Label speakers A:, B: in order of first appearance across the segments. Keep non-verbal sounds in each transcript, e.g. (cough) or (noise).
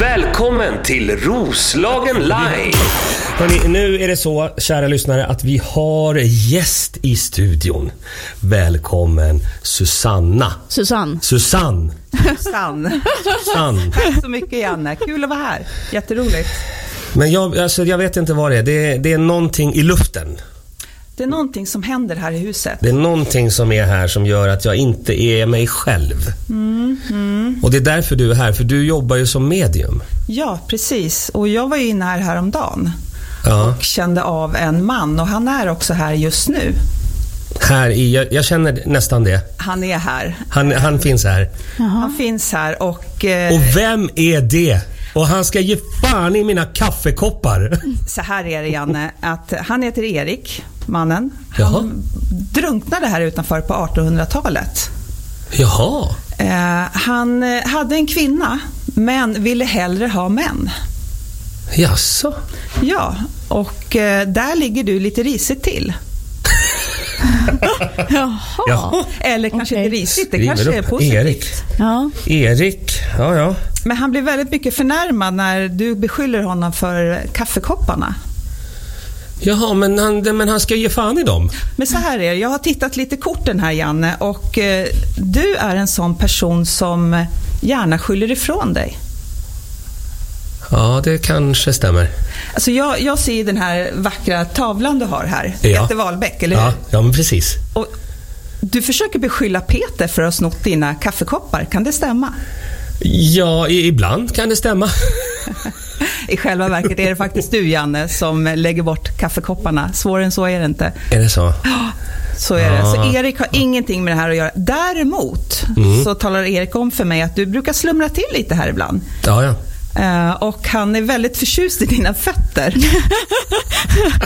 A: Välkommen till Roslagen Live!
B: Hörrni, nu är det så, kära lyssnare, att vi har gäst i studion. Välkommen Susanna.
C: Susanne.
B: Susanne.
D: Sann.
B: Susanne.
D: Tack så mycket Janne, kul att vara här. Jätteroligt.
B: Men jag, alltså, jag vet inte vad det är. det är. Det är någonting i luften.
D: Det är någonting som händer här i huset.
B: Det är någonting som är här som gör att jag inte är mig själv. Och det är därför du är här, för du jobbar ju som medium.
D: Ja, precis. Och jag var ju inne här häromdagen
B: Ja.
D: och kände av en man och han är också här just nu.
B: Här i, jag, jag känner nästan det.
D: Han är här.
B: Han, han finns här.
D: Han finns här och, eh,
B: Och vem är det? Och han ska ge fan i mina kaffekoppar.
D: så här är det Janne, att han heter Erik, mannen. Han
B: Jaha.
D: drunknade här utanför på 1800-talet.
B: Jaha.
D: Eh, han eh, hade en kvinna, men ville hellre ha män.
B: Jaså?
D: Ja, och eh, där ligger du lite
B: (laughs)
D: risigt till.
C: Jaha.
B: Ja.
C: Ja.
D: Eller kanske
C: Okej.
D: inte risigt, det
B: Skriver
D: kanske är
B: upp.
D: positivt.
B: Erik. Erik. Ja, ja.
D: Men han blir väldigt mycket förnärmad när du beskyller honom för kaffekopparna.
B: Jaha, men han, men han ska ge fan i dem.
D: Men så här är det, jag har tittat lite korten här Janne och eh, du är en sån person som gärna skyller ifrån dig.
B: Ja, det kanske stämmer.
D: Alltså jag, jag ser ju den här vackra tavlan du har här,
B: Ja.
D: Peter Wahlbeck, eller hur?
B: Ja, ja men precis.
D: Och du försöker beskylla Peter för att ha snott dina kaffekoppar, kan det stämma?
B: Ja, i, ibland kan det stämma.
D: I själva verket är det faktiskt du Janne som lägger bort kaffekopparna, svårare än så är det inte.
B: Är det så?
D: Så är det.
B: Ah. Mm.
D: Så Erik har ingenting med det här att göra. Däremot så talar Erik om för mig att du brukar slumra till lite här ibland.
B: Ja, ja.
D: Eh, och han är väldigt förtjust i dina fötter.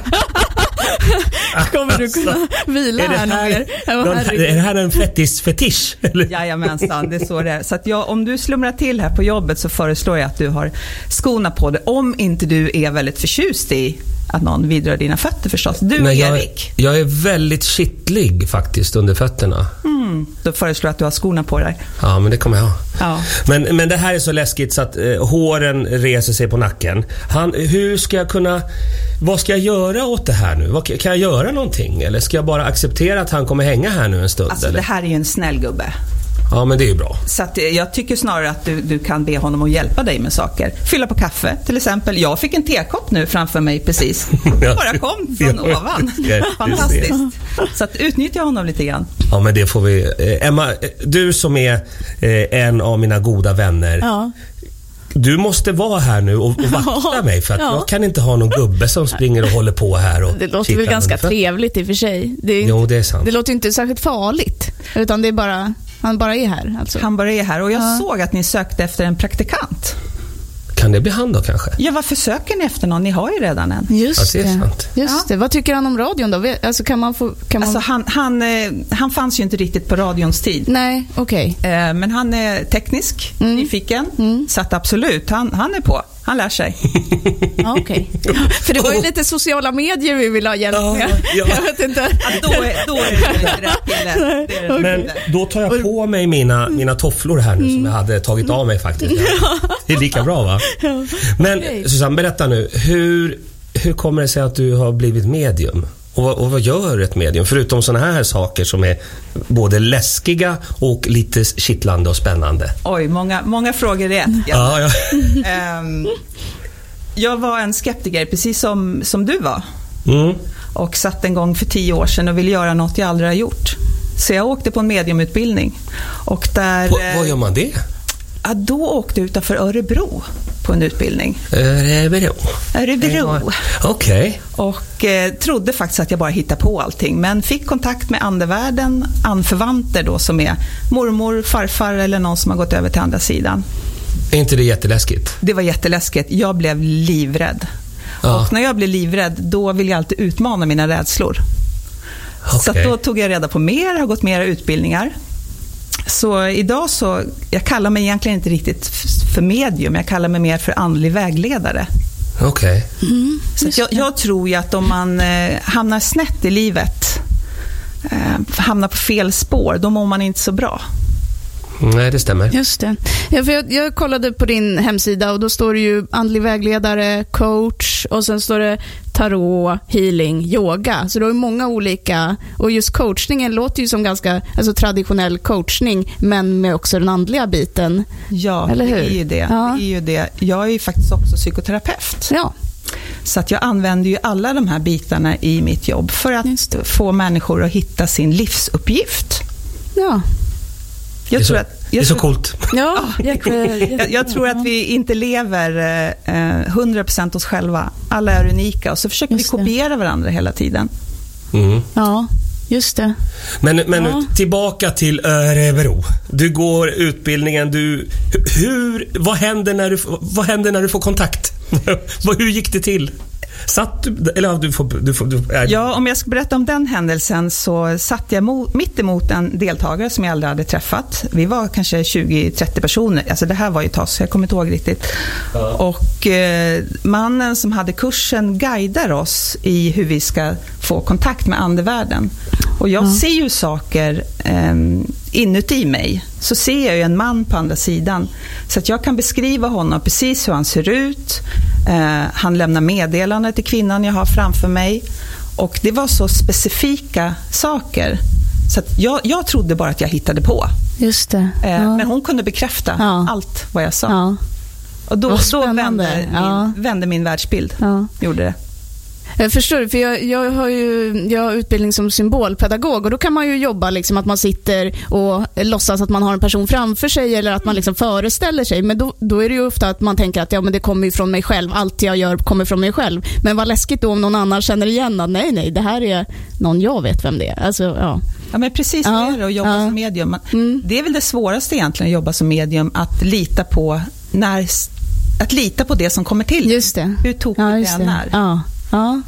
C: (laughs) Kommer du kunna vila
B: Alltså, Är det
C: här
B: här,
C: någon mer?
B: någon, är det här en fetis-fetisch? eller?
D: Jajamensan, det är så det är. Så att jag, om du slumrar till här på jobbet så föreslår jag att du har skorna på dig. Om inte du är väldigt förtjust i att någon vidrör dina fötter förstås. Du
B: Men jag,
D: Erik,
B: jag är väldigt kittlig faktiskt under fötterna.
D: Mm. då föreslår jag att du har skorna på dig.
B: Ja, men det kommer jag ha.
D: Ja.
B: Men, men det här är så läskigt så att eh, håren reser sig på nacken. Han, hur ska jag kunna... Vad ska jag göra åt det här nu? Vad, kan jag göra någonting? Eller ska jag bara acceptera att han kommer hänga här nu en stund?
D: Alltså
B: eller?
D: det här är ju en snäll gubbe.
B: Ja, men det är ju bra.
D: Så att eh, jag tycker snarare att du, du kan be honom att hjälpa dig med saker. Fylla på kaffe till exempel. Jag fick en tekopp nu framför mig precis.
B: Ja, (laughs)
D: Bara kom från
B: ja,
D: ovan.
B: du ser.
D: Fantastiskt. Så att utnyttja honom lite grann.
B: Ja, men det får vi... Eh, Emma, eh, du som är eh, en av mina goda vänner.
C: Ja.
B: Du måste vara här nu och, och vakta
C: Ja,
B: mig för att
C: ja.
B: jag kan inte ha någon gubbe som springer och håller på här. Och
C: Det låter
B: kittlar
C: väl
B: under
C: ganska
B: fötterna.
C: trevligt i och för sig. Det, är inte,
B: Jo, det är sant.
C: det låter ju inte särskilt farligt. Utan det är bara, han bara är här alltså.
D: Han bara är här och jag
C: Ja.
D: såg att ni sökte efter en praktikant.
B: Kan det bli han då kanske?
D: Ja, varför söker ni efter någon? Ni har ju redan en.
C: Just
B: Ja, det är
C: det.
B: sant.
C: Just
D: Ja.
C: det. Vad tycker han om radion då? Vet- Alltså kan man få... Kan man...
D: Alltså han, han, eh, han fanns ju inte riktigt på radions tid.
C: Nej, okej.
D: Eh, Men han är teknisk, nyfiken, så att absolut, han, han är på. Han lär sig.
C: Ja, okej. (laughs) För det var ju lite sociala medier vi ville ha hjälp
B: Ja,
C: med.
B: ja.
C: (laughs) Jag vet inte.
D: Ja, då, är, då är det inte rätt kille. Det är det
B: Men
D: inte.
B: då tar jag på mig mina, mina tofflor här nu som jag hade tagit av mig faktiskt. Det är lika bra va? Men Susanne, berätta nu. Hur, hur kommer det sig att du har blivit medium? Och, vad- och vad gör ett medium? Förutom sådana här saker som är både läskiga och lite kittlande och spännande.
D: Oj, många, många frågor i ett.
B: Ja,
D: Ja.
B: ja.
D: Ehm, jag var en skeptiker, precis som, som du var.
B: Mm.
D: Och satt en gång för tio år sedan och ville göra något jag aldrig har gjort. Så jag åkte på en mediumutbildning. Och där,
B: Vad,
D: eh,
B: vad gör man det?
D: ja, då åkte jag utanför Örebro på en utbildning.
B: Örebro.
D: Örebro.
B: Okej.
D: Och eh, trodde faktiskt att jag bara hittade på allting. Men fick kontakt med andevärlden, anförvanter då som är mormor, farfar eller någon som har gått över till andra sidan.
B: Är inte det jätteläskigt?
D: Det var jätteläskigt. Jag blev livrädd.
B: Ja.
D: Och när jag blir livrädd, då vill jag alltid utmana mina rädslor. Så att
B: Okej.
D: då tog jag reda på mer, har gått mera utbildningar. Så idag så, jag kallar mig egentligen inte riktigt f- för medium, jag kallar mig mer för andlig vägledare.
B: Okej.
D: Så att jag, jag tror ju att om man eh, hamnar snett i livet, eh, hamnar på fel spår, då mår man inte så bra.
B: Nej, det stämmer.
C: Just det. Ja, för jag, jag kollade på din hemsida och då står det ju andlig vägledare, coach och sen står det tarot, healing, yoga. Så du har ju många olika. Och just coachningen låter ju som ganska alltså traditionell coachning men med också den andliga biten.
D: Ja,
C: Eller hur?
D: Det, är ju det.
C: Ja.
D: det är ju det. Jag är ju faktiskt också psykoterapeut.
C: Ja,
D: Så att jag använder ju alla de här bitarna i mitt jobb för
C: Just
D: att få människor att hitta sin livsuppgift.
C: ja.
B: Det
D: Jag
B: är så,
D: tror att,
B: det är
D: jag
B: så
D: tror,
B: coolt.
D: (laughs)
C: ja jätte,
D: jag, jag tror att vi inte lever eh, eh, 100% oss själva. Alla är unika och så försöker
C: Just det.
D: vi kopiera varandra hela tiden.
B: Mm.
C: Ja, just det.
B: Men, men
C: Ja.
B: nu, tillbaka till Örebro. Du går utbildningen. Du, hu- hur, vad, händer när du, f- vad händer när du får kontakt? (laughs) Vad- hur gick det till? Satt du... Eller ja, du får... Du får du, äh,
D: Ja, om jag ska berätta om den händelsen så satt jag mo- mitt emot en deltagare som jag aldrig hade träffat. Vi var kanske 20-30 personer. Alltså det här var ju ett tag så jag kommer inte ihåg riktigt. Och eh, mannen som hade kursen guidar oss i hur vi ska få kontakt med andevärlden. Och jag ser ju saker eh, inuti mig. Så ser jag ju en man på andra sidan. Så att jag kan beskriva honom precis hur han ser ut. Eh, han lämnar meddelande till kvinnan jag har framför mig. Och det var så specifika saker. Så att jag, jag trodde bara att jag hittade på.
C: Just det.
D: Eh,
C: ja.
D: Men hon kunde bekräfta
C: Ja.
D: allt vad jag sa.
C: ja.
D: Och då,
C: Vad
D: då
C: spännande.
D: vände, min,
C: Ja.
D: vände min världsbild.
C: Ja.
D: Gjorde det.
C: Jag Eh, förstår, för jag, jag har ju jag har utbildning som symbolpedagog och då kan man ju jobba liksom att man sitter och låtsas att man har en person framför sig eller att man liksom föreställer sig. Men då, då är det ju ofta att man tänker att ja, men det kommer ju från mig själv, allt jag gör kommer från mig själv. Men vad läskigt då om någon annan känner igen att nej, nej, det här är någon jag vet vem det är. Alltså, ja.
D: Ja, men precis
C: Ja,
D: det är det att jobba
C: ja.
D: som medium. Man-
C: Mm.
D: Det är väl det svåraste egentligen att jobba som medium, att lita på, när, att lita på det som kommer till.
C: Just det.
D: Hur tokigt
C: Ja,
D: det
C: just
D: än
C: det.
D: är.
C: Ja, ja.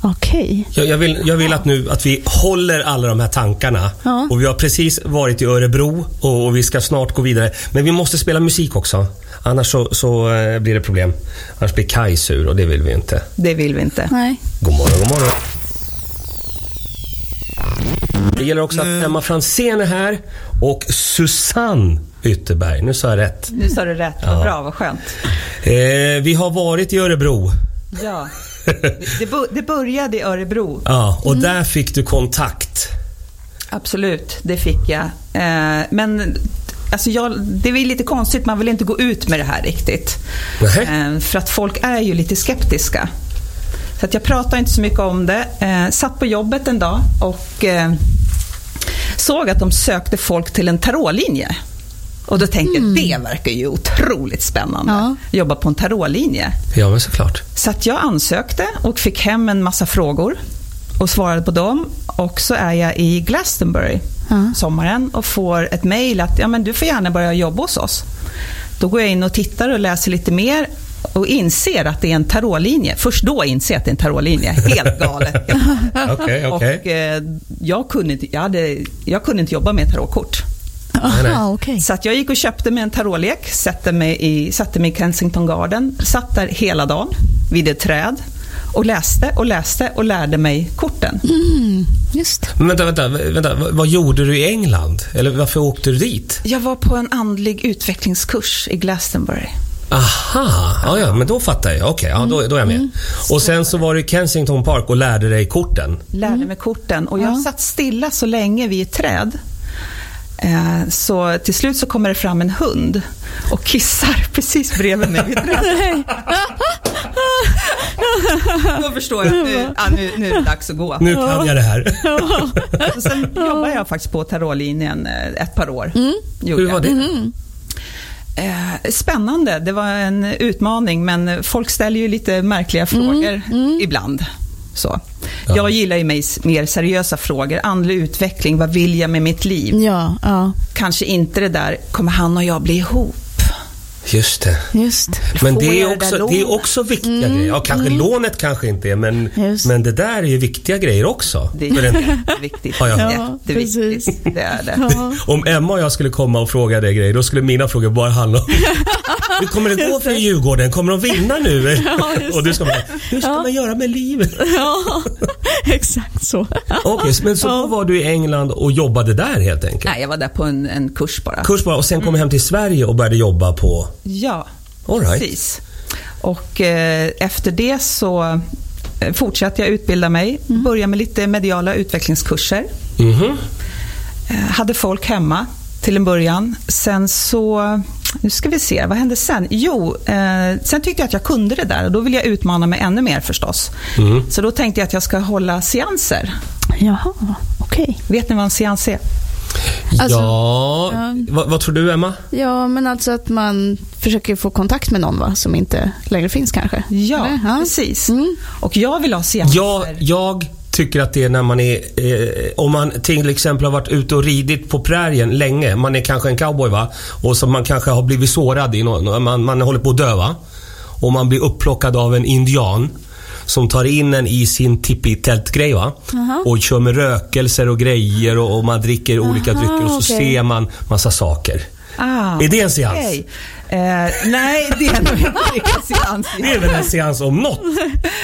C: Okej.
B: Jag, jag vill, jag vill att, nu, att vi håller alla de här tankarna.
C: Ja.
B: Och vi har precis varit i Örebro och, och vi ska snart gå vidare. Men vi måste spela musik också. Annars så, så eh, blir det problem. Annars blir Kaj sur och det vill vi ju inte.
D: Det vill vi inte.
C: Nej.
B: God morgon, god morgon. Det gäller också att Emma Fransén är här och Susanne Ytterberg. Nu sa jag rätt.
D: Nu sa du rätt. Vad bra, vad skönt.
B: Eh, vi har varit i Örebro.
D: Ja. Det, bo- det började i Örebro
B: Ja, och där fick du kontakt.
D: Absolut, det fick jag. Eh, men alltså jag, det är väl lite konstigt, man vill inte gå ut med det här riktigt.
B: Nähä.
D: Eh, för att folk är ju lite skeptiska. Så att jag pratar inte så mycket om det. Eh, satt på jobbet en dag och eh, såg att de sökte folk till en tarotlinje. Och då tänkte jag, det verkar ju otroligt spännande.
C: Ja.
D: Jobba på en tarotlinje.
B: Ja, men såklart.
D: Så att jag ansökte och fick hem en massa frågor och svarade på dem. Och så är jag i Glastonbury
C: Ja.
D: sommaren och får ett mejl att ja, men du får gärna börja jobba hos oss. Då går jag in och tittar och läser lite mer och inser att det är en tarotlinje. Först då inser jag att det är en tarotlinje. Helt galet.
B: Okej, (laughs) okej.
D: Och, eh, jag, kunde inte, jag, hade, jag kunde inte jobba med tarotkort.
B: nej.
C: Aha, okej.
D: Så att jag gick och köpte mig en tarotlek, satte mig, i, satte mig i Kensington Garden, satt där hela dagen vid ett träd och läste och läste och lärde mig korten.
C: Just det.
B: Men vänta, vänta, vänta. Vad- Vad gjorde du i England? Eller varför åkte du dit?
D: Jag var på en andlig utvecklingskurs i Glastonbury.
B: Aha, ja, ja, men då fattar jag. Okej, ja, då, då är jag med. Och sen så var du i Kensington Park och lärde dig korten.
D: Lärde mig korten och jag
C: Ja.
D: satt stilla så länge vid ett träd. Eh, Så till slut så kommer det fram en hund och kissar (laughs) precis bredvid mig vid ett träd. (laughs) Då förstår jag att nu, ja, nu, nu är det dags att gå.
B: Nu kan jag det här.
D: Och sen jobbade jag faktiskt på tarotlinjen eh, ett par år.
C: Mm.
D: Gjorde
B: Hur var
D: jag.
B: det?
D: Eh, Spännande. Det var en utmaning, men folk ställer ju lite
C: Mm.
D: märkliga frågor ibland. Så.
B: Ja.
D: Jag gillar ju mig s- mer seriösa frågor. Andlig utveckling, vad
C: Mm.
D: vill jag med mitt liv?
C: Ja, ja.
D: Kanske inte det där, kommer han och jag bli ihop?
B: Just det.
C: Just.
B: Men
D: får
B: det
D: jag
B: är,
D: det där
B: också, det är
D: lånet?
B: också viktiga grejer. Ja, kanske lånet kanske inte är, men,
C: Just.
B: men det där är ju viktiga grejer också.
D: Det
B: För en del.
D: är (laughs) jätteviktigt.
B: Ja, ja.
C: Ja,
D: Jätteviktigt.
C: precis.
D: Det är det.
C: Ja.
B: Om Emma och jag skulle komma och fråga dig grejer, då skulle mina frågor bara handla om hur kommer det gå för Djurgården? Kommer de vinna nu?
C: Ja, just
B: och du ska bara, hur ska
C: Ja.
B: man göra med livet?
C: ja, (laughs) exakt så.
B: Okej, men så då var du i England och jobbade där helt enkelt?
D: Nej, jag var där på en, en kurs bara.
B: Kurs bara och sen kom jag hem till Sverige och började jobba på...
D: Ja,
B: All right.
D: precis. Och eh, efter det så eh, fortsatte jag utbilda mig. Började med lite mediala utvecklingskurser.
B: Mhm.
D: Eh, hade folk hemma till en början. Sen så, nu ska vi se, vad hände sen? Jo, eh, sen tyckte jag att jag kunde det där och då ville jag utmana mig ännu mer förstås.
B: Mm.
D: Så då tänkte jag att jag ska hålla seanser.
C: Jaha, okej.
D: Vet ni vad en seans är?
C: Alltså,
B: ja, Vad, vad tror du Emma?
C: Ja, men alltså att man försöker få kontakt med någon va, som inte längre finns kanske?
D: Ja,
C: Eller?
D: precis.
C: Mm.
D: Och jag vill ha seanser.
B: Jag, jag tycker att det är när man är... Eh, om man till exempel har varit ute och ridit på prärien länge. Man är kanske en cowboy va? Och så man kanske har blivit sårad. I någon, man, man håller på att dö va? Och man blir upplockad av en indian. Som tar in en i sin tippi-tältgrej va? Och kör med rökelser och grejer och, och man dricker olika
C: Aha,
B: drycker och så
C: okej.
B: ser man massa saker.
D: Ah,
B: Är det en seans?
D: okej. Eh, nej, det är nog inte riktigt seans.
B: Det är väl en seans om något?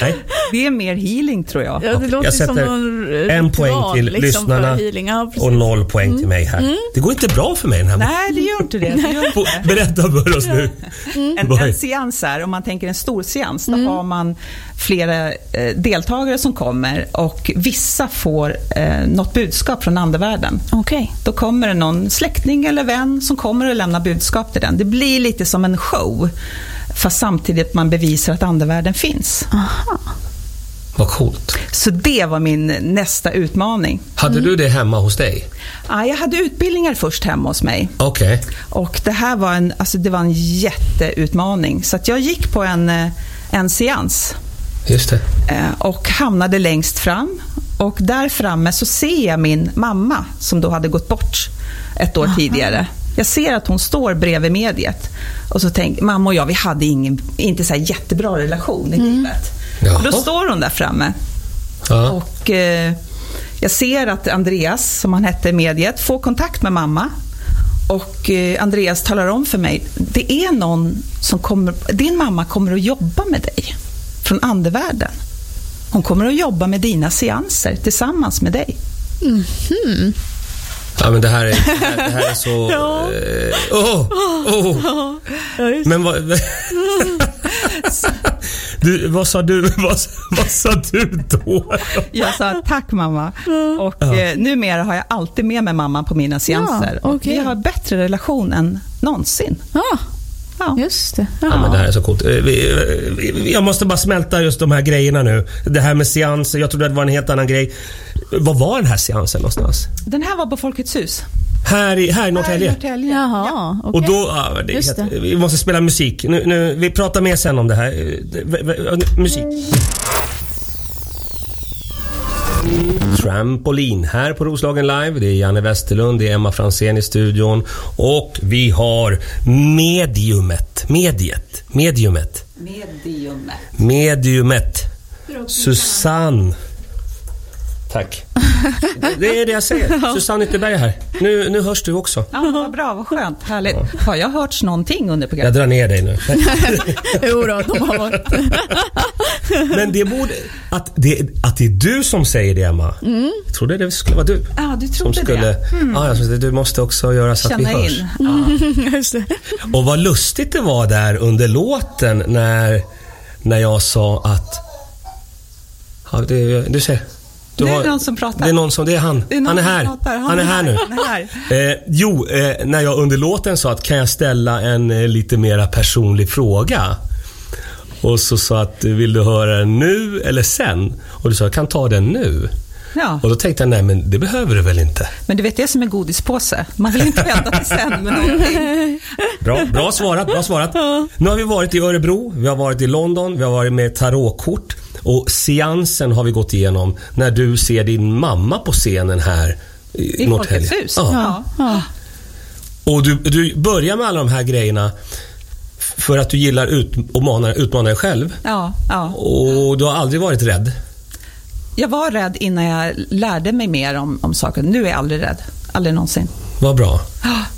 B: Nej.
D: Det är mer healing tror jag.
C: Ja, det
B: Jag
C: låter ju som
B: sätter
C: någon eh,
B: en
C: ritual,
B: poäng till
C: liksom,
B: lyssnarna
C: för healing. Ja, precis. Mm.
B: och noll poäng till mig här. Det går inte bra för mig den här morgonen.
D: Nej, det gör inte det. det, gör inte.
B: Få- Berätta för oss nu.
C: Mm.
D: En,
B: Vad är-
D: en seans är, om man tänker en stor seans, då har man flera eh, deltagare som kommer och vissa får eh, något budskap från andevärlden.
C: Okej.
D: Då kommer det någon släkting eller vän som kommer och lämnar budskap till den. Det blir lite som en show, fast samtidigt man bevisar att andevärlden finns.
B: Vad coolt.
D: Så det var min nästa utmaning.
B: Hade
C: Mm.
B: du det hemma hos dig?
D: Ja, jag hade utbildningar först hemma hos mig.
B: Okej.
D: Och det här var en, alltså det var en jätteutmaning. Så att jag gick på en, eh, en seans
B: Just det.
D: eh, och hamnade längst fram. Och där framme så ser jag min mamma som då hade gått bort ett år tidigare. Jag ser att hon står bredvid mediet. Och så tänker mamma och jag, vi hade ingen, inte så här jättebra relation i livet.
B: Jaha.
D: Då står hon där framme.
B: Ja.
D: Och eh, jag ser att Andreas, som han hette i mediet, får kontakt med mamma. Och eh, Andreas talar om för mig, det är någon som kommer, din mamma kommer att jobba med dig från andevärlden. Hon kommer att jobba med dina seanser tillsammans med dig.
B: ja, men det här är, det här, det här är så...
C: (laughs) Ja.
B: eh, Åh! åh.
C: Ja, just
B: Men
C: Mm.
B: vad... (laughs) Du, vad sa du? (laughs) Vad, vad sa du då?
D: Jag sa tack mamma. Och eh, numera har jag alltid med mig mamma på mina seanser.
C: Ja,
D: Och
C: okej.
D: Vi har bättre relation än någonsin.
C: Ja,
D: Ja.
C: just det.
B: Ja, men
C: Ja.
B: det här är så coolt. Eh, vi- eh, vi- Jag måste bara smälta just de här grejerna nu. Det här med seanser, jag trodde det var en helt annan grej. Vad var den här seansen någonstans?
D: Den här var på Folkets hus.
B: Här i, här i
D: Här i
B: Norrtälje?
D: Norrtälje.
C: Jaha, okej.
B: Och då, ja, det är
C: Just
B: helt,
C: det.
B: vi måste spela musik. Nu, nu, vi pratar mer sen om det här. Eh, v- v- eh, Musik. Trampolin här på Roslagen Live. Det är Janne Westerlund, det är Emma Fransén i studion och vi har mediumet. Mediet. Mediumet.
D: Mediumet.
B: Mediumet. Susanne. Tack. Det är det jag
D: (laughs)
B: säger. Susanne Ytterberg här. Nu, nu hörs du också.
D: Ja, (laughs) vad bra, vad skönt, härligt. Har jag hört någonting under
B: Jag
D: programmet?
B: drar ner dig nu.
C: (laughs) Jo då, de har varit...
B: Men det borde... Att det, att det är du som säger det, Emma. Jag trodde det skulle vara du.
D: Mm. Ja, du
B: Som
D: trodde
B: skulle...
D: det. Mm.
B: Ja, jag trodde, du måste också göra så att vi
D: Känna
B: hörs.
D: in.
C: Just det.
B: Och vad lustigt det var där under låten när, när jag sa att... Ja, det, du ser. Du
D: Nu är det någon som pratar.
B: Det är någon som... Det är han.
D: Det är någon
B: han är
D: som
B: här.
D: pratar.
B: Han, är här nu.
D: Han är här.
B: Eh, jo, eh, när jag under låten sa att kan jag ställa en eh, lite mera personlig fråga? Och så sa att vill du höra den nu eller sen? Och du sa jag kan ta den nu.
D: Ja,
B: Och då tänkte jag nej men det behöver du väl inte?
D: men du vet det är som en godispåse. Man vill inte vänta till sen med någonting.
B: Bra, bra svarat, bra svarat. Nu har vi varit i Örebro, vi har varit i London, vi har varit med tarotkort och seansen har vi gått igenom när du ser din mamma på scenen här i,
D: I
B: Norrtälje.
D: Folkets hus.
B: Ja.
D: Ja.
C: Ja.
B: Och du, du börjar med alla de här grejerna För att du gillar ut och manar, utmana dig själv.
D: Ja, ja.
B: Och du har aldrig varit rädd.
D: Jag var rädd innan jag lärde mig mer om, om saker. Nu är jag aldrig rädd. Aldrig någonsin.
B: Vad bra.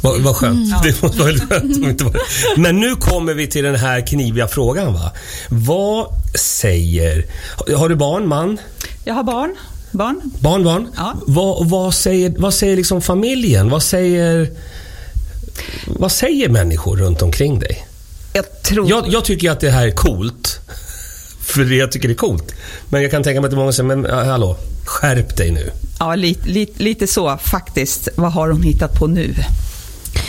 B: Vad, vad skönt. Det måste vara väldigt skönt om inte var. Men nu kommer vi till den här kniviga frågan. Va? Vad säger... Har du barn, man?
D: Jag har barn. barn.
B: Barn, barn?
D: Ja.
B: Vad, vad säger, vad säger liksom familjen? Vad säger... Vad säger människor runt omkring dig?
D: Jag tror...
B: Jag, jag tycker att det här är coolt. (laughs) För det jag tycker det är coolt. Men jag kan tänka mig att det är många som säger, men äh, hallå, skärp dig nu.
D: Ja, lite, lite, lite så faktiskt. Vad har hon hittat på nu?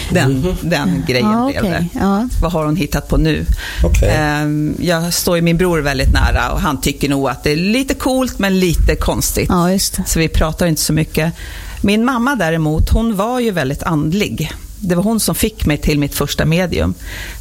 D: Den, den grejen
E: Mhm. Ja,
D: blev
E: okej.
D: det.
E: Ja.
D: Vad har hon hittat på nu?
B: Okej.
D: Ehm, jag står ju min bror väldigt nära och han tycker nog att det är lite coolt men lite konstigt.
E: Ja, just det.
D: Så vi pratar inte så mycket. Min mamma däremot, hon var ju väldigt andlig. Det var hon som fick mig till mitt första medium.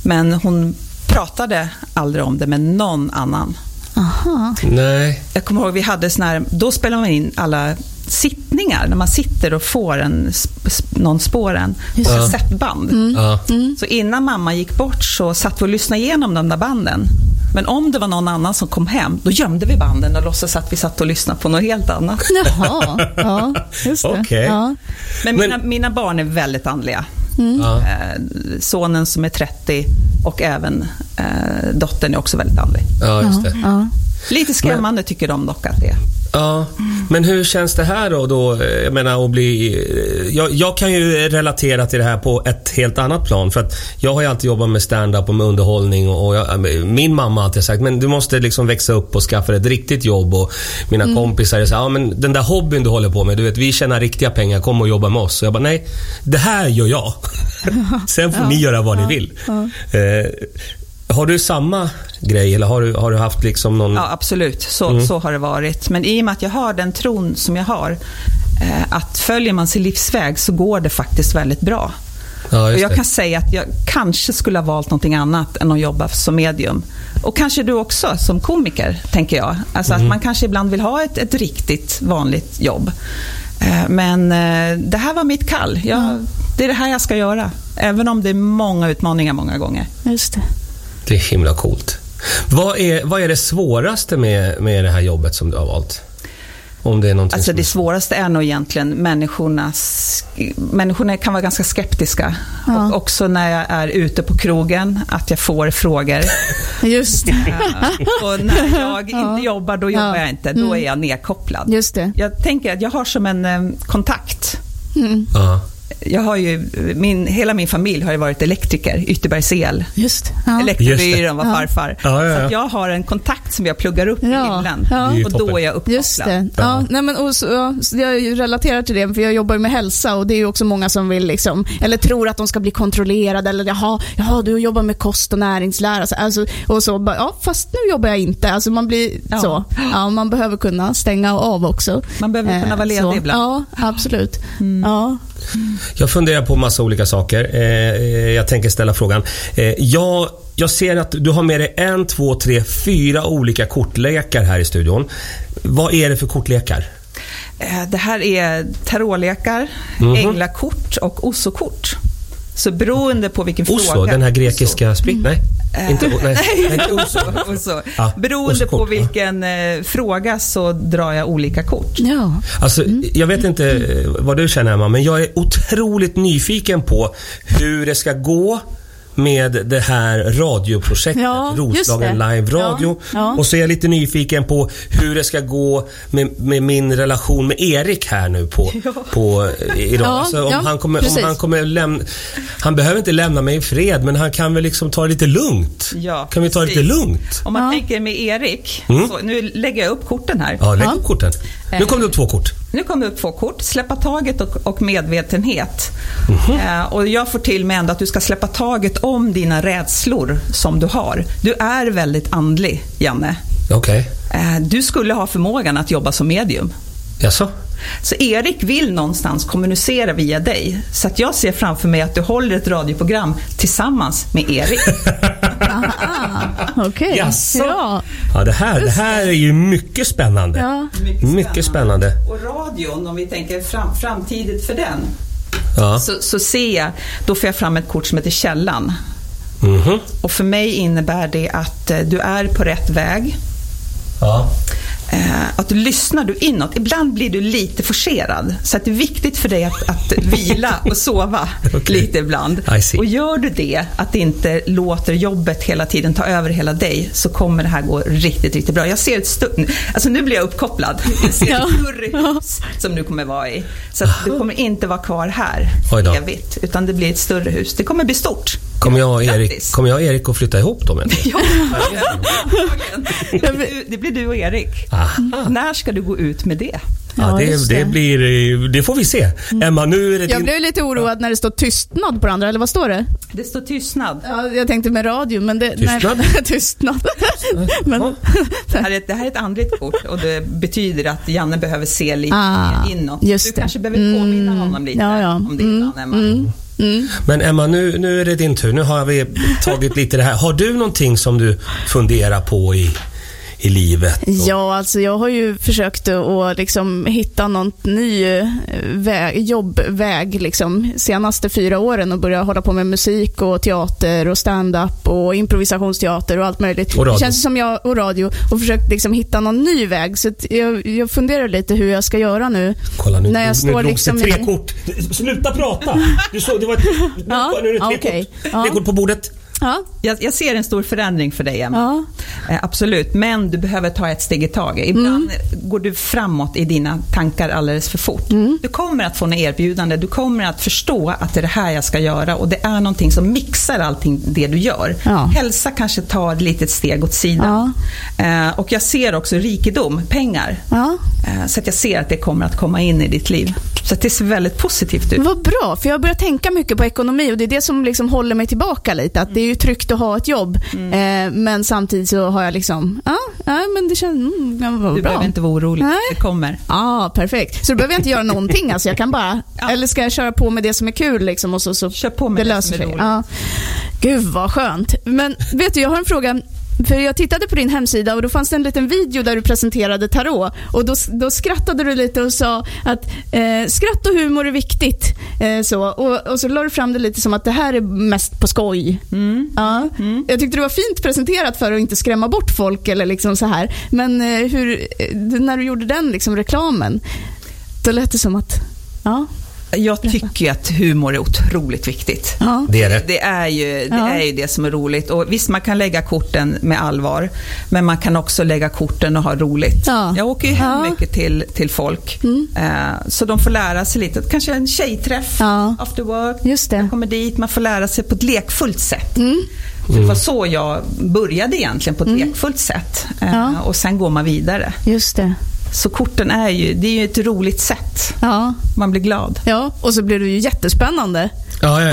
D: Men hon pratade aldrig om det med någon annan.
E: Aha.
B: Nej.
D: Jag kommer ihåg vi hade sån här, då spelade man in alla sittningar, när man sitter och får en, sp- sp- någon spåren på
B: det. Mm.
D: kassettband.
B: Ja.
D: Så innan mamma gick bort så satt vi och lyssnade igenom de där banden. Men om det var någon annan som kom hem, då gömde vi banden och låtsades att vi satt och lyssnade på något helt annat.
E: Jaha, ja, just det.
B: Okej.
E: Ja.
B: Men-
D: Men, mina, mina barn är väldigt andliga.
C: Mm.
B: Ja.
D: Eh, sonen som är 30 och även eh, dottern är också väldigt andlig.
B: ja, just det.
E: Ja.
D: Lite skrämmande tycker de dock att det är.
B: Ja, men hur känns det här då? då Eh, jag, menar, att bli, eh, jag, jag kan ju relatera till det här på ett helt annat plan. För att Jag har ju alltid jobbat med stand-up och med underhållning. Och och jag, eh, min mamma har alltid sagt men du måste liksom växa upp och skaffa dig ett riktigt jobb. Och Mina
D: Mm.
B: kompisar säger ja, men den där hobbyn du håller på med, du vet, vi tjänar riktiga pengar, kom och jobba med oss. Och jag bara, nej, det här gör
D: (laughs)
B: jag. Sen får ni göra vad ni vill. Eh, har du samma grej eller har du, har du haft liksom någon...
D: Ja, absolut. Så,
B: Mm.
D: så har det varit. Men i och med att jag har den tron som jag har, eh, att följer man sin livsväg så går det faktiskt väldigt bra.
B: Ja,
D: och
B: just
D: jag
B: det.
D: kan säga att jag kanske skulle ha valt någonting annat än att jobba som medium. Och kanske du också som komiker, tänker jag. Alltså
B: Mm.
D: att man kanske ibland vill ha ett, ett riktigt vanligt jobb. Eh, Men eh, det här var mitt kall. Jag,
B: Mm.
D: Det är det här jag ska göra. Även om det är många utmaningar många gånger.
E: Just det.
B: Det är himla coolt. Vad är, vad är det svåraste med, med det här jobbet som du har valt? Om det är någonting
D: Alltså
B: som...
D: det svåraste är nog egentligen människornas... Människorna kan vara ganska skeptiska. Och också när jag är ute på krogen, att jag
C: (laughs)
D: får frågor.
C: Just,
D: och när jag inte jobbar, då jobbar
C: Ja. Mm.
D: jag inte. Då är jag nedkopplad.
C: just det.
D: Jag tänker att jag har som en eh, kontakt.
C: Mm.
B: Ja.
D: Jag har ju, min, hela min familj har ju varit elektriker, Ytterbergs El.
E: Just det.
C: Ja.
D: Elektrikerbyrån var
C: Ja.
D: farfar.
B: Ja, ja, ja.
D: Så att jag har en kontakt som jag pluggar upp
C: Ja,
D: i hyllan.
C: ja. Det
B: är ju
D: Och då
B: toppen.
D: är jag uppkopplad.
C: Just det. Ja.
B: Ja.
C: nej men, och så, ja, så jag relaterar till det, för jag jobbar ju med hälsa och det är ju också många som vill, liksom, eller tror att de ska bli kontrollerade, eller jaha, jaha du jobbar med kost och näringslära. Alltså, alltså, och så, bara, ja, fast nu jobbar jag inte. Alltså, man blir
D: Ja.
C: så. Ja, man behöver kunna stänga av också. Eh,
D: Man behöver kunna vara ledig
C: så.
D: ibland. Mm.
C: Ja, absolut. Ja.
B: Jag funderar på massa olika saker. Eh, eh, jag tänker ställa frågan. Eh, jag, jag ser att du har med dig en, två, tre, fyra olika kortlekar här i studion. Vad är det för kortlekar?
D: Eh, Det här är tarotlekar,
B: Mhm.
D: änglakort och ossokort. Så beroende på vilken
B: Oso,
D: fråga... Mm.
B: den här grekiska sprit... Nej, inte
D: (laughs)
B: o- nej. nej,
D: Oso.
B: inte oso.
D: (laughs) Oso.
B: Ja,
D: Beroende
B: ossokort,
D: på
B: ja.
D: vilken eh, fråga så drar jag olika kort.
E: Ja.
B: Alltså, Jag vet inte eh, vad du känner Emma, men jag är otroligt nyfiken på hur det ska gå med det här radioprojektet,
E: Ja, just
B: Roslagen
E: det.
B: Live Radio.
E: Ja, ja.
B: Och så är jag lite nyfiken på hur det ska gå med, med min relation med Erik här nu på, på eh, idag.
C: Ja,
B: alltså, om,
C: ja,
B: han kommer, om
C: precis.
B: han kommer lämna... Han behöver inte lämna mig i fred, men han kan väl liksom ta det lite lugnt?
D: Ja,
B: kan vi ta det lite
D: precis.
B: lugnt?
D: Om man
E: Ja.
D: tänker med Erik,
B: Mm.
D: så, nu lägger jag upp korten här.
B: Ja, lägg upp korten. Nu kom det upp två kort.
D: Nu kommer det upp två kort, släppa taget och, och medvetenhet.
B: Mhm.
D: Eh, och jag får till mig ändå att du ska släppa taget om dina rädslor som du har. Du är väldigt andlig, Janne.
B: Okej.
D: Eh, du skulle ha förmågan att jobba som medium.
B: Jaså?
D: Så Erik vill någonstans kommunicera via dig. Så att jag ser framför mig att du håller ett radioprogram tillsammans med Erik.
E: Okej.
B: Jaså?
E: Ja.
B: Ja, det här, det här är ju mycket spännande.
E: Ja.
B: (laughs) Mycket spännande.
D: Och radion, om vi tänker fram, framtiden för den,
B: Ja.
D: så, så ser jag, då får jag fram ett kort som heter Källan.
B: Mhm.
D: Och för mig innebär det att eh, du är på rätt väg.
B: Ja.
D: Eh, att du lyssnar du inåt. Ibland blir du lite forcerad. Så att det är viktigt för dig att, att vila och sova
B: (laughs) Okej.
D: lite ibland.
B: I see.
D: Och gör du det, att det inte låter jobbet hela tiden ta över hela dig, så kommer det här gå riktigt, riktigt bra. Jag ser ett stund... Alltså nu blir
B: (laughs)
D: jag uppkopplad. Jag ser
E: Ja.
D: ett större hus som du kommer vara i. Så att du kommer inte vara kvar här
B: Oj då.
D: evigt, utan det blir ett större hus. Det kommer
B: (laughs)
D: bli stort.
B: Kommer jag och Erik,
D: Grattis.
B: kommer jag och Erik att flytta ihop dem?
C: (laughs)
B: ändå?
D: Ja, det blir du- (laughs) det blir du och Erik.
B: Aha.
D: När ska du gå ut med det?
B: Ah. Ja,
E: Ja,
B: det,
E: just det.
B: det, blir, eh, det får vi se. Emma, nu är det
C: Mm. Jag
B: din...
C: blev lite oroad när det står tystnad på det andra, eller vad står det?
D: Det står tystnad.
C: Ja, jag tänkte med radio, men det...
B: Tystnad?
C: Nej, (laughs) tystnad. men, (laughs)
D: Det här är ett, det här är ett andligt kort och det betyder att Janne behöver se lite
C: Ah,
D: mer inåt.
C: just
D: du
C: det.
D: kanske behöver påminna
C: Mm.
D: honom lite
C: Ja, ja.
D: om det
C: Mm,
D: ibland, Emma.
B: Men Emma, nu, nu är det din tur. Nu har vi tagit lite det här. Har du någonting som du funderar på i, i livet? Och-
C: Ja, alltså jag har ju försökt att- att liksom hitta någon ny eh, väg, jobbväg liksom, senaste fyra åren och börja hålla på med musik och teater och stand-up och improvisationsteater och allt möjligt.
B: Och radio.
C: Det känns ju som jag och radio och försökt liksom hitta någon ny väg. Så att jag, jag funderar lite hur jag ska göra nu.
B: Kolla nu,
C: När jag
B: nu,
C: står
B: drogs
C: liksom
B: det tre
C: i-
B: kort. Sluta prata! Du såg, det var ett, nu,
C: (laughs) Ja,
B: nu är det tre
C: okej.
B: kort.
C: Ja.
B: Tre kort på bordet.
C: Ja,
D: Jag, jag ser en stor förändring för dig, Emma.
C: ja.
D: Eh, absolut, men du behöver ta ett steg i taget. Ibland
C: Mm.
D: går du framåt i dina tankar alldeles för fort. Du kommer att få en erbjudande, du kommer att förstå att det är det här jag ska göra och det är någonting som mixar allting det du gör.
C: Ja.
D: Hälsa kanske tar ett litet steg åt sidan. Eh, och jag ser också rikedom, pengar.
C: ja.
D: Eh, Så att jag ser att det kommer att komma in i ditt liv. Så att det ser väldigt positivt ut.
C: Vad bra, för jag börjar tänka mycket på ekonomi och det är det som liksom håller mig tillbaka lite. Att det är ju tryggt att ha ett jobb,
D: Mm.
C: eh, men samtidigt så har jag liksom, ja, ja men det känns, mm, ja, vad
D: Du
C: bra.
D: behöver inte vara orolig,
C: Nej.
D: det kommer.
C: Ja, ah, perfekt. Så då behöver jag inte göra någonting alltså, jag kan bara,
D: (laughs) Ja.
C: eller ska jag köra på med det som är kul liksom och så, så
D: Kör på med
C: det
D: det
C: löser
D: som är
C: sig.
D: roligt.
C: Ja. Gud vad skönt. Men vet du, jag har en fråga. För jag tittade på din hemsida och då fanns det en liten video där du presenterade tarot. Och då, då skrattade du lite och sa att eh, skratt och humor är viktigt. Eh, så. Och, och så la du fram det lite som att det här är mest på skoj. Ja. Jag tyckte det var fint presenterat för att inte skrämma bort folk eller liksom så här. Men eh, hur, eh, när du gjorde den liksom, reklamen, då lät det som att, ja,
D: Jag tycker ju att humor är otroligt viktigt.
C: ja.
B: Det är det.
D: Det är, ju, det
C: Ja.
D: är ju det som är roligt. Och visst, man kan lägga korten med allvar, men man kan också lägga korten och ha roligt.
C: Ja.
D: Jag åker ju hem
C: Ja. Mm.
D: mycket till, till folk, eh, så de får lära sig lite. Kanske en tjejträff
C: Ja.
D: after work.
C: Just det. Mm.
D: Man kommer dit, man får lära sig på ett lekfullt sätt. För Det var så jag började egentligen, på ett lekfullt sätt. Eh,
C: Ja.
D: Och sen går man vidare.
C: Just det.
D: Så korten är ju, det är ju ett roligt sätt.
C: Ja.
D: Man blir glad.
C: Ja, och så blir det ju jättespännande.
B: Ja,
C: (laughs)
B: ja,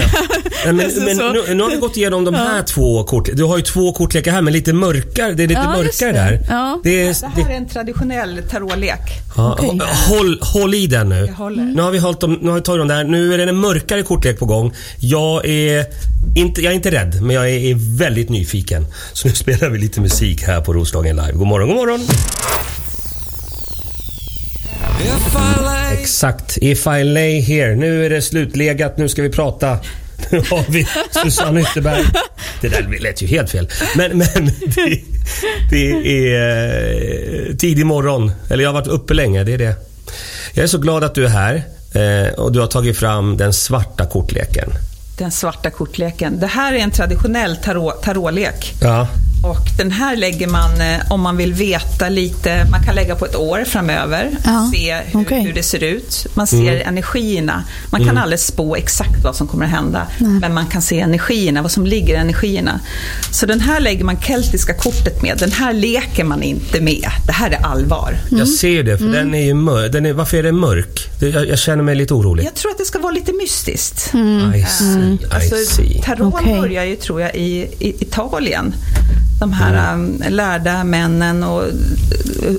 B: ja. Nej,
C: Alltså,
B: Men, men
C: så.
B: nu, nu har vi gått igenom de här två kort. Du har ju två kortlekar här, men lite mörkare. Det är lite
C: Ja, just
B: mörkare
C: det.
B: där.
C: Ja.
B: Det är,
D: Det
B: det,
D: här är en traditionell tarotlek.
B: ja, hå- håll, håll i den nu.
D: Jag håller.
B: Nu har vi hållit dem, nu har vi tagit dem där. Nu är det en mörkare kortlek på gång. Jag är inte, jag är inte rädd, men jag är, är väldigt nyfiken. Så nu (laughs) spelar vi lite musik här på Roslagen Live. God morgon, god morgon! Exakt. If I lay here. Nu är det slutlegat. Nu ska vi prata. (laughs) Nu har vi Susanne Ytterberg. Det där lät ju helt fel. Men, men (laughs) det, det är eh, tidig morgon. Eller jag har varit uppe länge. Det är det. Jag är så glad att du är här eh, och du har tagit fram den svarta kortleken.
D: Den svarta kortleken. Det här är en traditionell tarot, tarotlek.
B: Ja.
D: Och den här lägger man eh, om man vill veta lite, man kan lägga på ett år framöver.
E: Ja,
D: Se hur,
E: okej.
D: hur det ser ut. Man ser energierna. Man kan aldrig spå exakt vad som kommer att hända. Men man kan se energierna, vad som ligger i energierna. Så den här lägger man keltiska kortet med. Den här leker man inte med. Det här är allvar.
B: Jag ser det, för den är ju mörk. Den är, varför är den mörk? Det, jag, jag känner mig lite orolig.
D: Jag tror att det ska vara lite mystiskt.
B: I see, I
D: Alltså,
B: see.
D: tarot
E: Okej.
D: börjar ju, tror jag, i, i Italien. De här
B: Mm.
D: um, lärda männen och eh,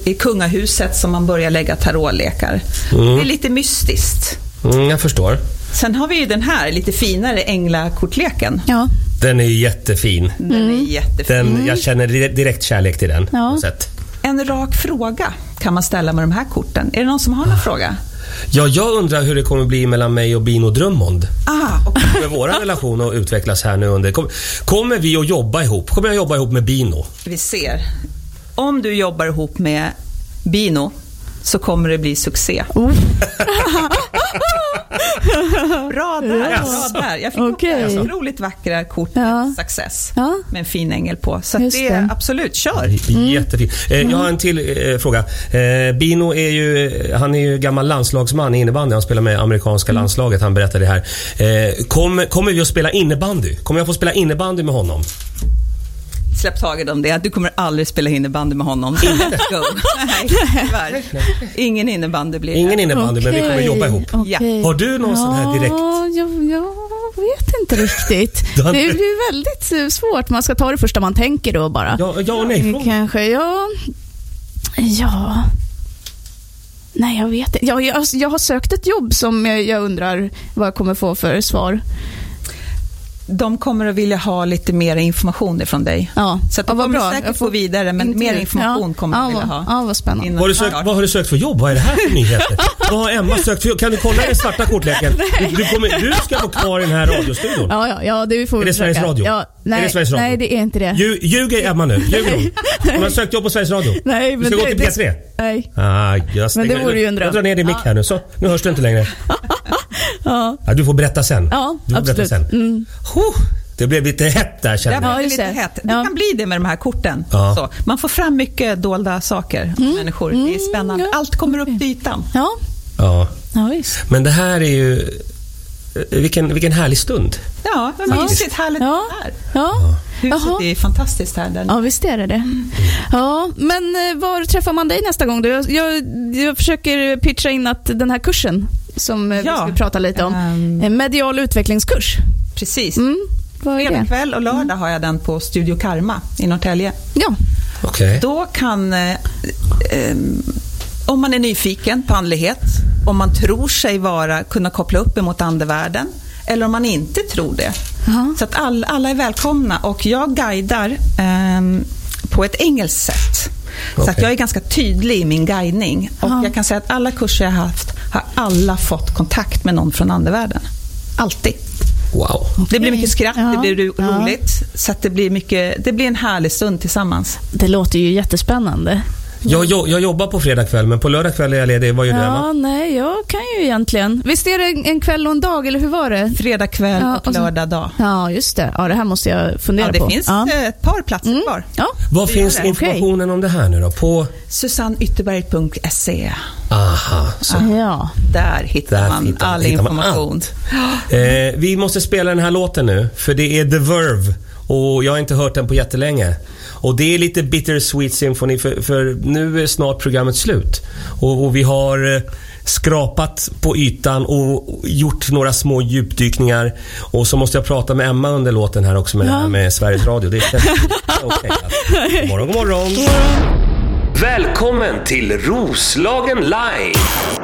D: i kungahuset som man börjar lägga tarotlekar. Det är lite mystiskt.
B: Mm, jag förstår.
D: Sen har vi ju den här lite finare änglakortleken.
E: Ja. Mm.
B: Den är ju jättefin.
D: Den är jättefin.
B: Den, Jag känner di- direkt kärlek till den.
E: Ja.
B: på något sätt.
D: En rak fråga kan man ställa med de här korten. Är det någon som har någon fråga?
B: Ja, jag undrar hur det kommer bli mellan mig och Bino Drummond.
D: Ah, okej.
E: (laughs)
B: Kommer vår relation att utvecklas här nu under... Kom, kommer vi att jobba ihop? Kommer jag jobba ihop med Bino?
D: Vi ser. Om du jobbar ihop med Bino så kommer det bli succé.
C: Oh,
D: Bra där,
B: Yes.
D: bra där. Jag fick upp
C: Okej.
D: det otroligt vackra kort
C: Ja.
D: success
C: Ja.
D: med en fin ängel på. Så att
C: Just
D: det
C: det.
D: är absolut, kör!
B: Jättefint. Eh, jag har en till eh, fråga. Eh, Bino är ju, han är ju gammal landslagsman i innebandy. Han spelar med amerikanska landslaget. Han berättade det här. Eh, kommer, kommer vi att spela innebandy? Kommer jag få spela innebandy med honom?
D: Släpp taget om det. Du kommer aldrig spela innebandy med honom.
C: (laughs)
D: Go. Nej, tyvärr. Ingen innebandy blir det.
B: Ingen innebandy, men vi kommer
C: Okej,
B: jobba ihop.
D: Ja.
C: okej.
B: Har du någon sån här direkt-
C: Ja, jag, jag vet inte riktigt.
B: (laughs) Du har
C: det
B: inte-
C: blir väldigt eh, svårt. Man ska ta det första man tänker då bara.
B: Ja, ja och nej fråga.
C: Mm, Kanske, ja. Ja. Nej, jag vet inte. Jag, jag, jag har sökt ett jobb som jag, jag undrar vad jag kommer få för svar.
D: De kommer att vilja ha lite mer information ifrån dig.
C: Ja.
D: Så att de
C: Ja, vad
D: kommer
C: bra.
D: säkert
C: Jag får
D: gå vidare, men mer
C: intervju.
D: information
C: Ja.
D: kommer de
C: ja,
D: vilja
C: vad-
D: ha.
C: Ja, vad spännande.
D: innan
B: Vad har, du
D: det är
B: sökt,
D: klart.
B: vad har du sökt för jobb? Vad är det här
C: (laughs)
B: för nyheter? Vad har Emma sökt för jobb? Kan du kolla i den svarta kortleken? Du, du, kommer, du ska vara kvar i den här radiostudion.
C: Ja, ja, ja, det får vi
B: Är det Sveriges
C: försöka.
B: Radio?
C: Ja, nej,
B: Är det Sveriges Radio?
C: nej, det är inte det.
B: Ljug- Ljuger Emma nu? Ljuger hon? Hon har sökt jobb på Sveriges Radio.
C: Nej,
B: du
C: men
B: ska gå
C: det-
B: till P3.
C: det- Nej. (laughs)
B: Ah, jag stänger-
C: det vore ju en dröm.
B: Jag drar ner din mick här nu. Så, nu hörs du inte längre. ja. du får berätta sen.
C: Ja,
B: du får
C: absolut. Mm.
B: Berätta sen. Huh, det blev lite hett där känner
D: Det
B: jag.
D: här blir
C: just
D: lite
C: det.
D: hett. Det
C: Ja.
D: kan bli det med de här korten.
B: Ja.
D: Så. Man får fram mycket dolda saker om människor. Det är spännande.
C: Mm. ja.
D: Allt kommer upp till ytan.
C: Ja,
B: Ja.
C: ja visst.
B: Men det här är ju... eh, Vilken, vilken härlig stund.
D: Ja, vad mysigt. Härligt
C: Ja,
D: det är.
C: ja.
D: Huset
C: Jaha.
D: är fantastiskt här. Där.
C: Ja, visst är det det. Ja, men eh, var träffar man dig nästa gång då? Jag, jag, jag försöker pitcha in att den här kursen som eh,
D: Ja,
C: vi ska prata lite om,
D: ehm.
C: eh, medial utvecklingskurs.
D: Precis.
C: Mm, vad är
D: Fredag
C: det?
D: kväll och lördag har jag den på Studio Karma i Norrtälje.
C: Ja,
B: Okej.
D: Då kan... Eh, eh, om man är nyfiken på andlighet, om man tror sig vara, kunna koppla upp emot andevärlden eller om man inte tror det.
C: Ja.
D: Så att all, alla är välkomna och jag guidar eh, på ett engelskt sätt. Så att
B: Okej.
D: jag är ganska tydlig i min guidning. Och jag kan säga att alla kurser jag har haft har alla fått kontakt med någon från andevärlden. Alltid.
B: Wow.
D: Det blir mycket skratt,
C: Ja.
D: det blir ro-
C: Ja.
D: roligt. Så att det, blir mycket, det blir en härlig stund tillsammans.
C: det låter ju jättespännande.
B: Jag, jag, jag jobbar på fredag kväll, men på lördag kväll är jag ledig. Vad gör du, Emma?
C: Ja, nej, jag kan ju egentligen. Visst är det en- en kväll och en dag, eller hur var det?
D: Fredag kväll
C: Ja,
D: och,
C: och så-
D: lördag dag.
C: Ja, just det. Ja, det här måste jag fundera
D: Ja, det
C: på.
D: finns
C: ja.
D: eh, ett par platser
C: Mm.
D: kvar.
C: Ja.
B: Vad
D: det
B: finns
D: gör det.
B: informationen om det här nu då? På...
D: Susanneytterberg.se.
B: Aha. Så.
D: Ah.
C: ja.
D: E. Där hittar
B: Där
D: man
B: hittar-
D: all
B: hittar man
D: information.
B: allt. Eh, vi måste spela den här låten nu, för det är The Verve. Och jag har inte hört den på jättelänge. Och det är lite bittersweet symphony för, för nu är snart programmet slut. Och, och vi har eh, skrapat på ytan och gjort några små djupdykningar. Och så måste jag prata med Emma under låten här också med det här med Sveriges Radio. Det
D: (laughs)
B: känns okej. Okay, morgon, god morgon.
A: Välkommen till Roslagen Live!